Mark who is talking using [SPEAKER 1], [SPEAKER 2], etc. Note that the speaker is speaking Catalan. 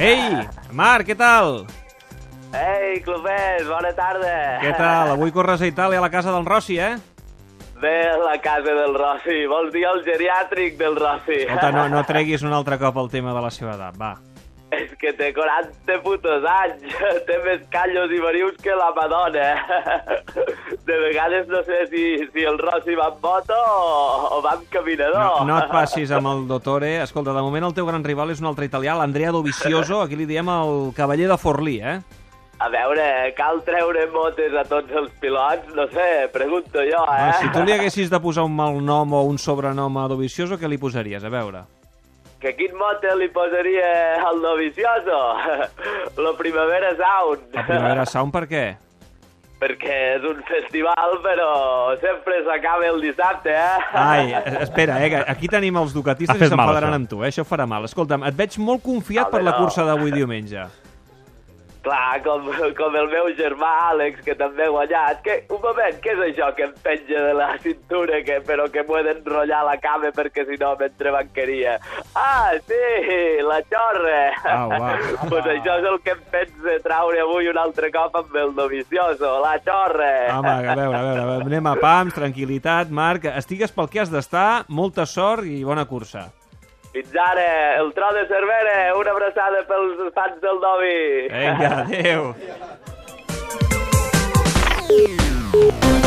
[SPEAKER 1] Ei, Marc, què tal?
[SPEAKER 2] Ei, clubers, bona tarda.
[SPEAKER 1] Què tal? Avui corres a Itàlia a la casa del Rossi, eh?
[SPEAKER 2] De la casa del Rossi. Vols dir el geriàtric del Rossi.
[SPEAKER 1] Escolta, no, no treguis un altre cop el tema de la seva edat, va.
[SPEAKER 2] És que té 40 putos anys, té més callos i verius que la Madonna. De vegades no sé si, si el Rossi va amb moto o, o va amb
[SPEAKER 1] No,
[SPEAKER 2] caminador.
[SPEAKER 1] no et passis amb el Dottore. Escolta, de moment el teu gran rival és un altre italià, l'Andrea Dovizioso, aquí li diem el cavaller de Forlí, eh?
[SPEAKER 2] A veure, cal treure motes a tots els pilots? No sé, pregunto jo, eh?
[SPEAKER 1] Ah, si tu li haguessis de posar un mal nom o un sobrenom a Dovizioso, què li posaries? A veure.
[SPEAKER 2] Que quin mote li posaria al novicioso? La Primavera Sound.
[SPEAKER 1] La primavera Sound per què?
[SPEAKER 2] Perquè és un festival, però sempre s'acaba el dissabte, eh?
[SPEAKER 1] Ai, es- espera, eh, que aquí tenim els
[SPEAKER 3] Ha
[SPEAKER 1] ducatistes i
[SPEAKER 3] fet mal,
[SPEAKER 1] s'enfadaran
[SPEAKER 3] això.
[SPEAKER 1] amb tu, eh? Això farà mal. Escolta'm, et veig molt confiat
[SPEAKER 2] Home,
[SPEAKER 1] per la
[SPEAKER 2] no.
[SPEAKER 1] cursa d'avui diumenge.
[SPEAKER 2] Clar, com, com el meu germà Àlex, que també ha guanyat. Que, un moment, què és això que em penja de la cintura, que, però que m'ho he d'enrotllar a la cama perquè si no m'entre banqueria? Ah, sí, la xorra!
[SPEAKER 1] Au, va.
[SPEAKER 2] pues això és el que em pensa de traure avui un altre cop amb el novicioso, la xorra!
[SPEAKER 1] Home, a veure, a veure, anem a pams, tranquil·litat, Marc. Estigues pel que has d'estar, molta sort i bona cursa.
[SPEAKER 2] Fins ara, el tro de Cervera, una abraçada pels fans del Dovi.
[SPEAKER 1] Vinga, adéu.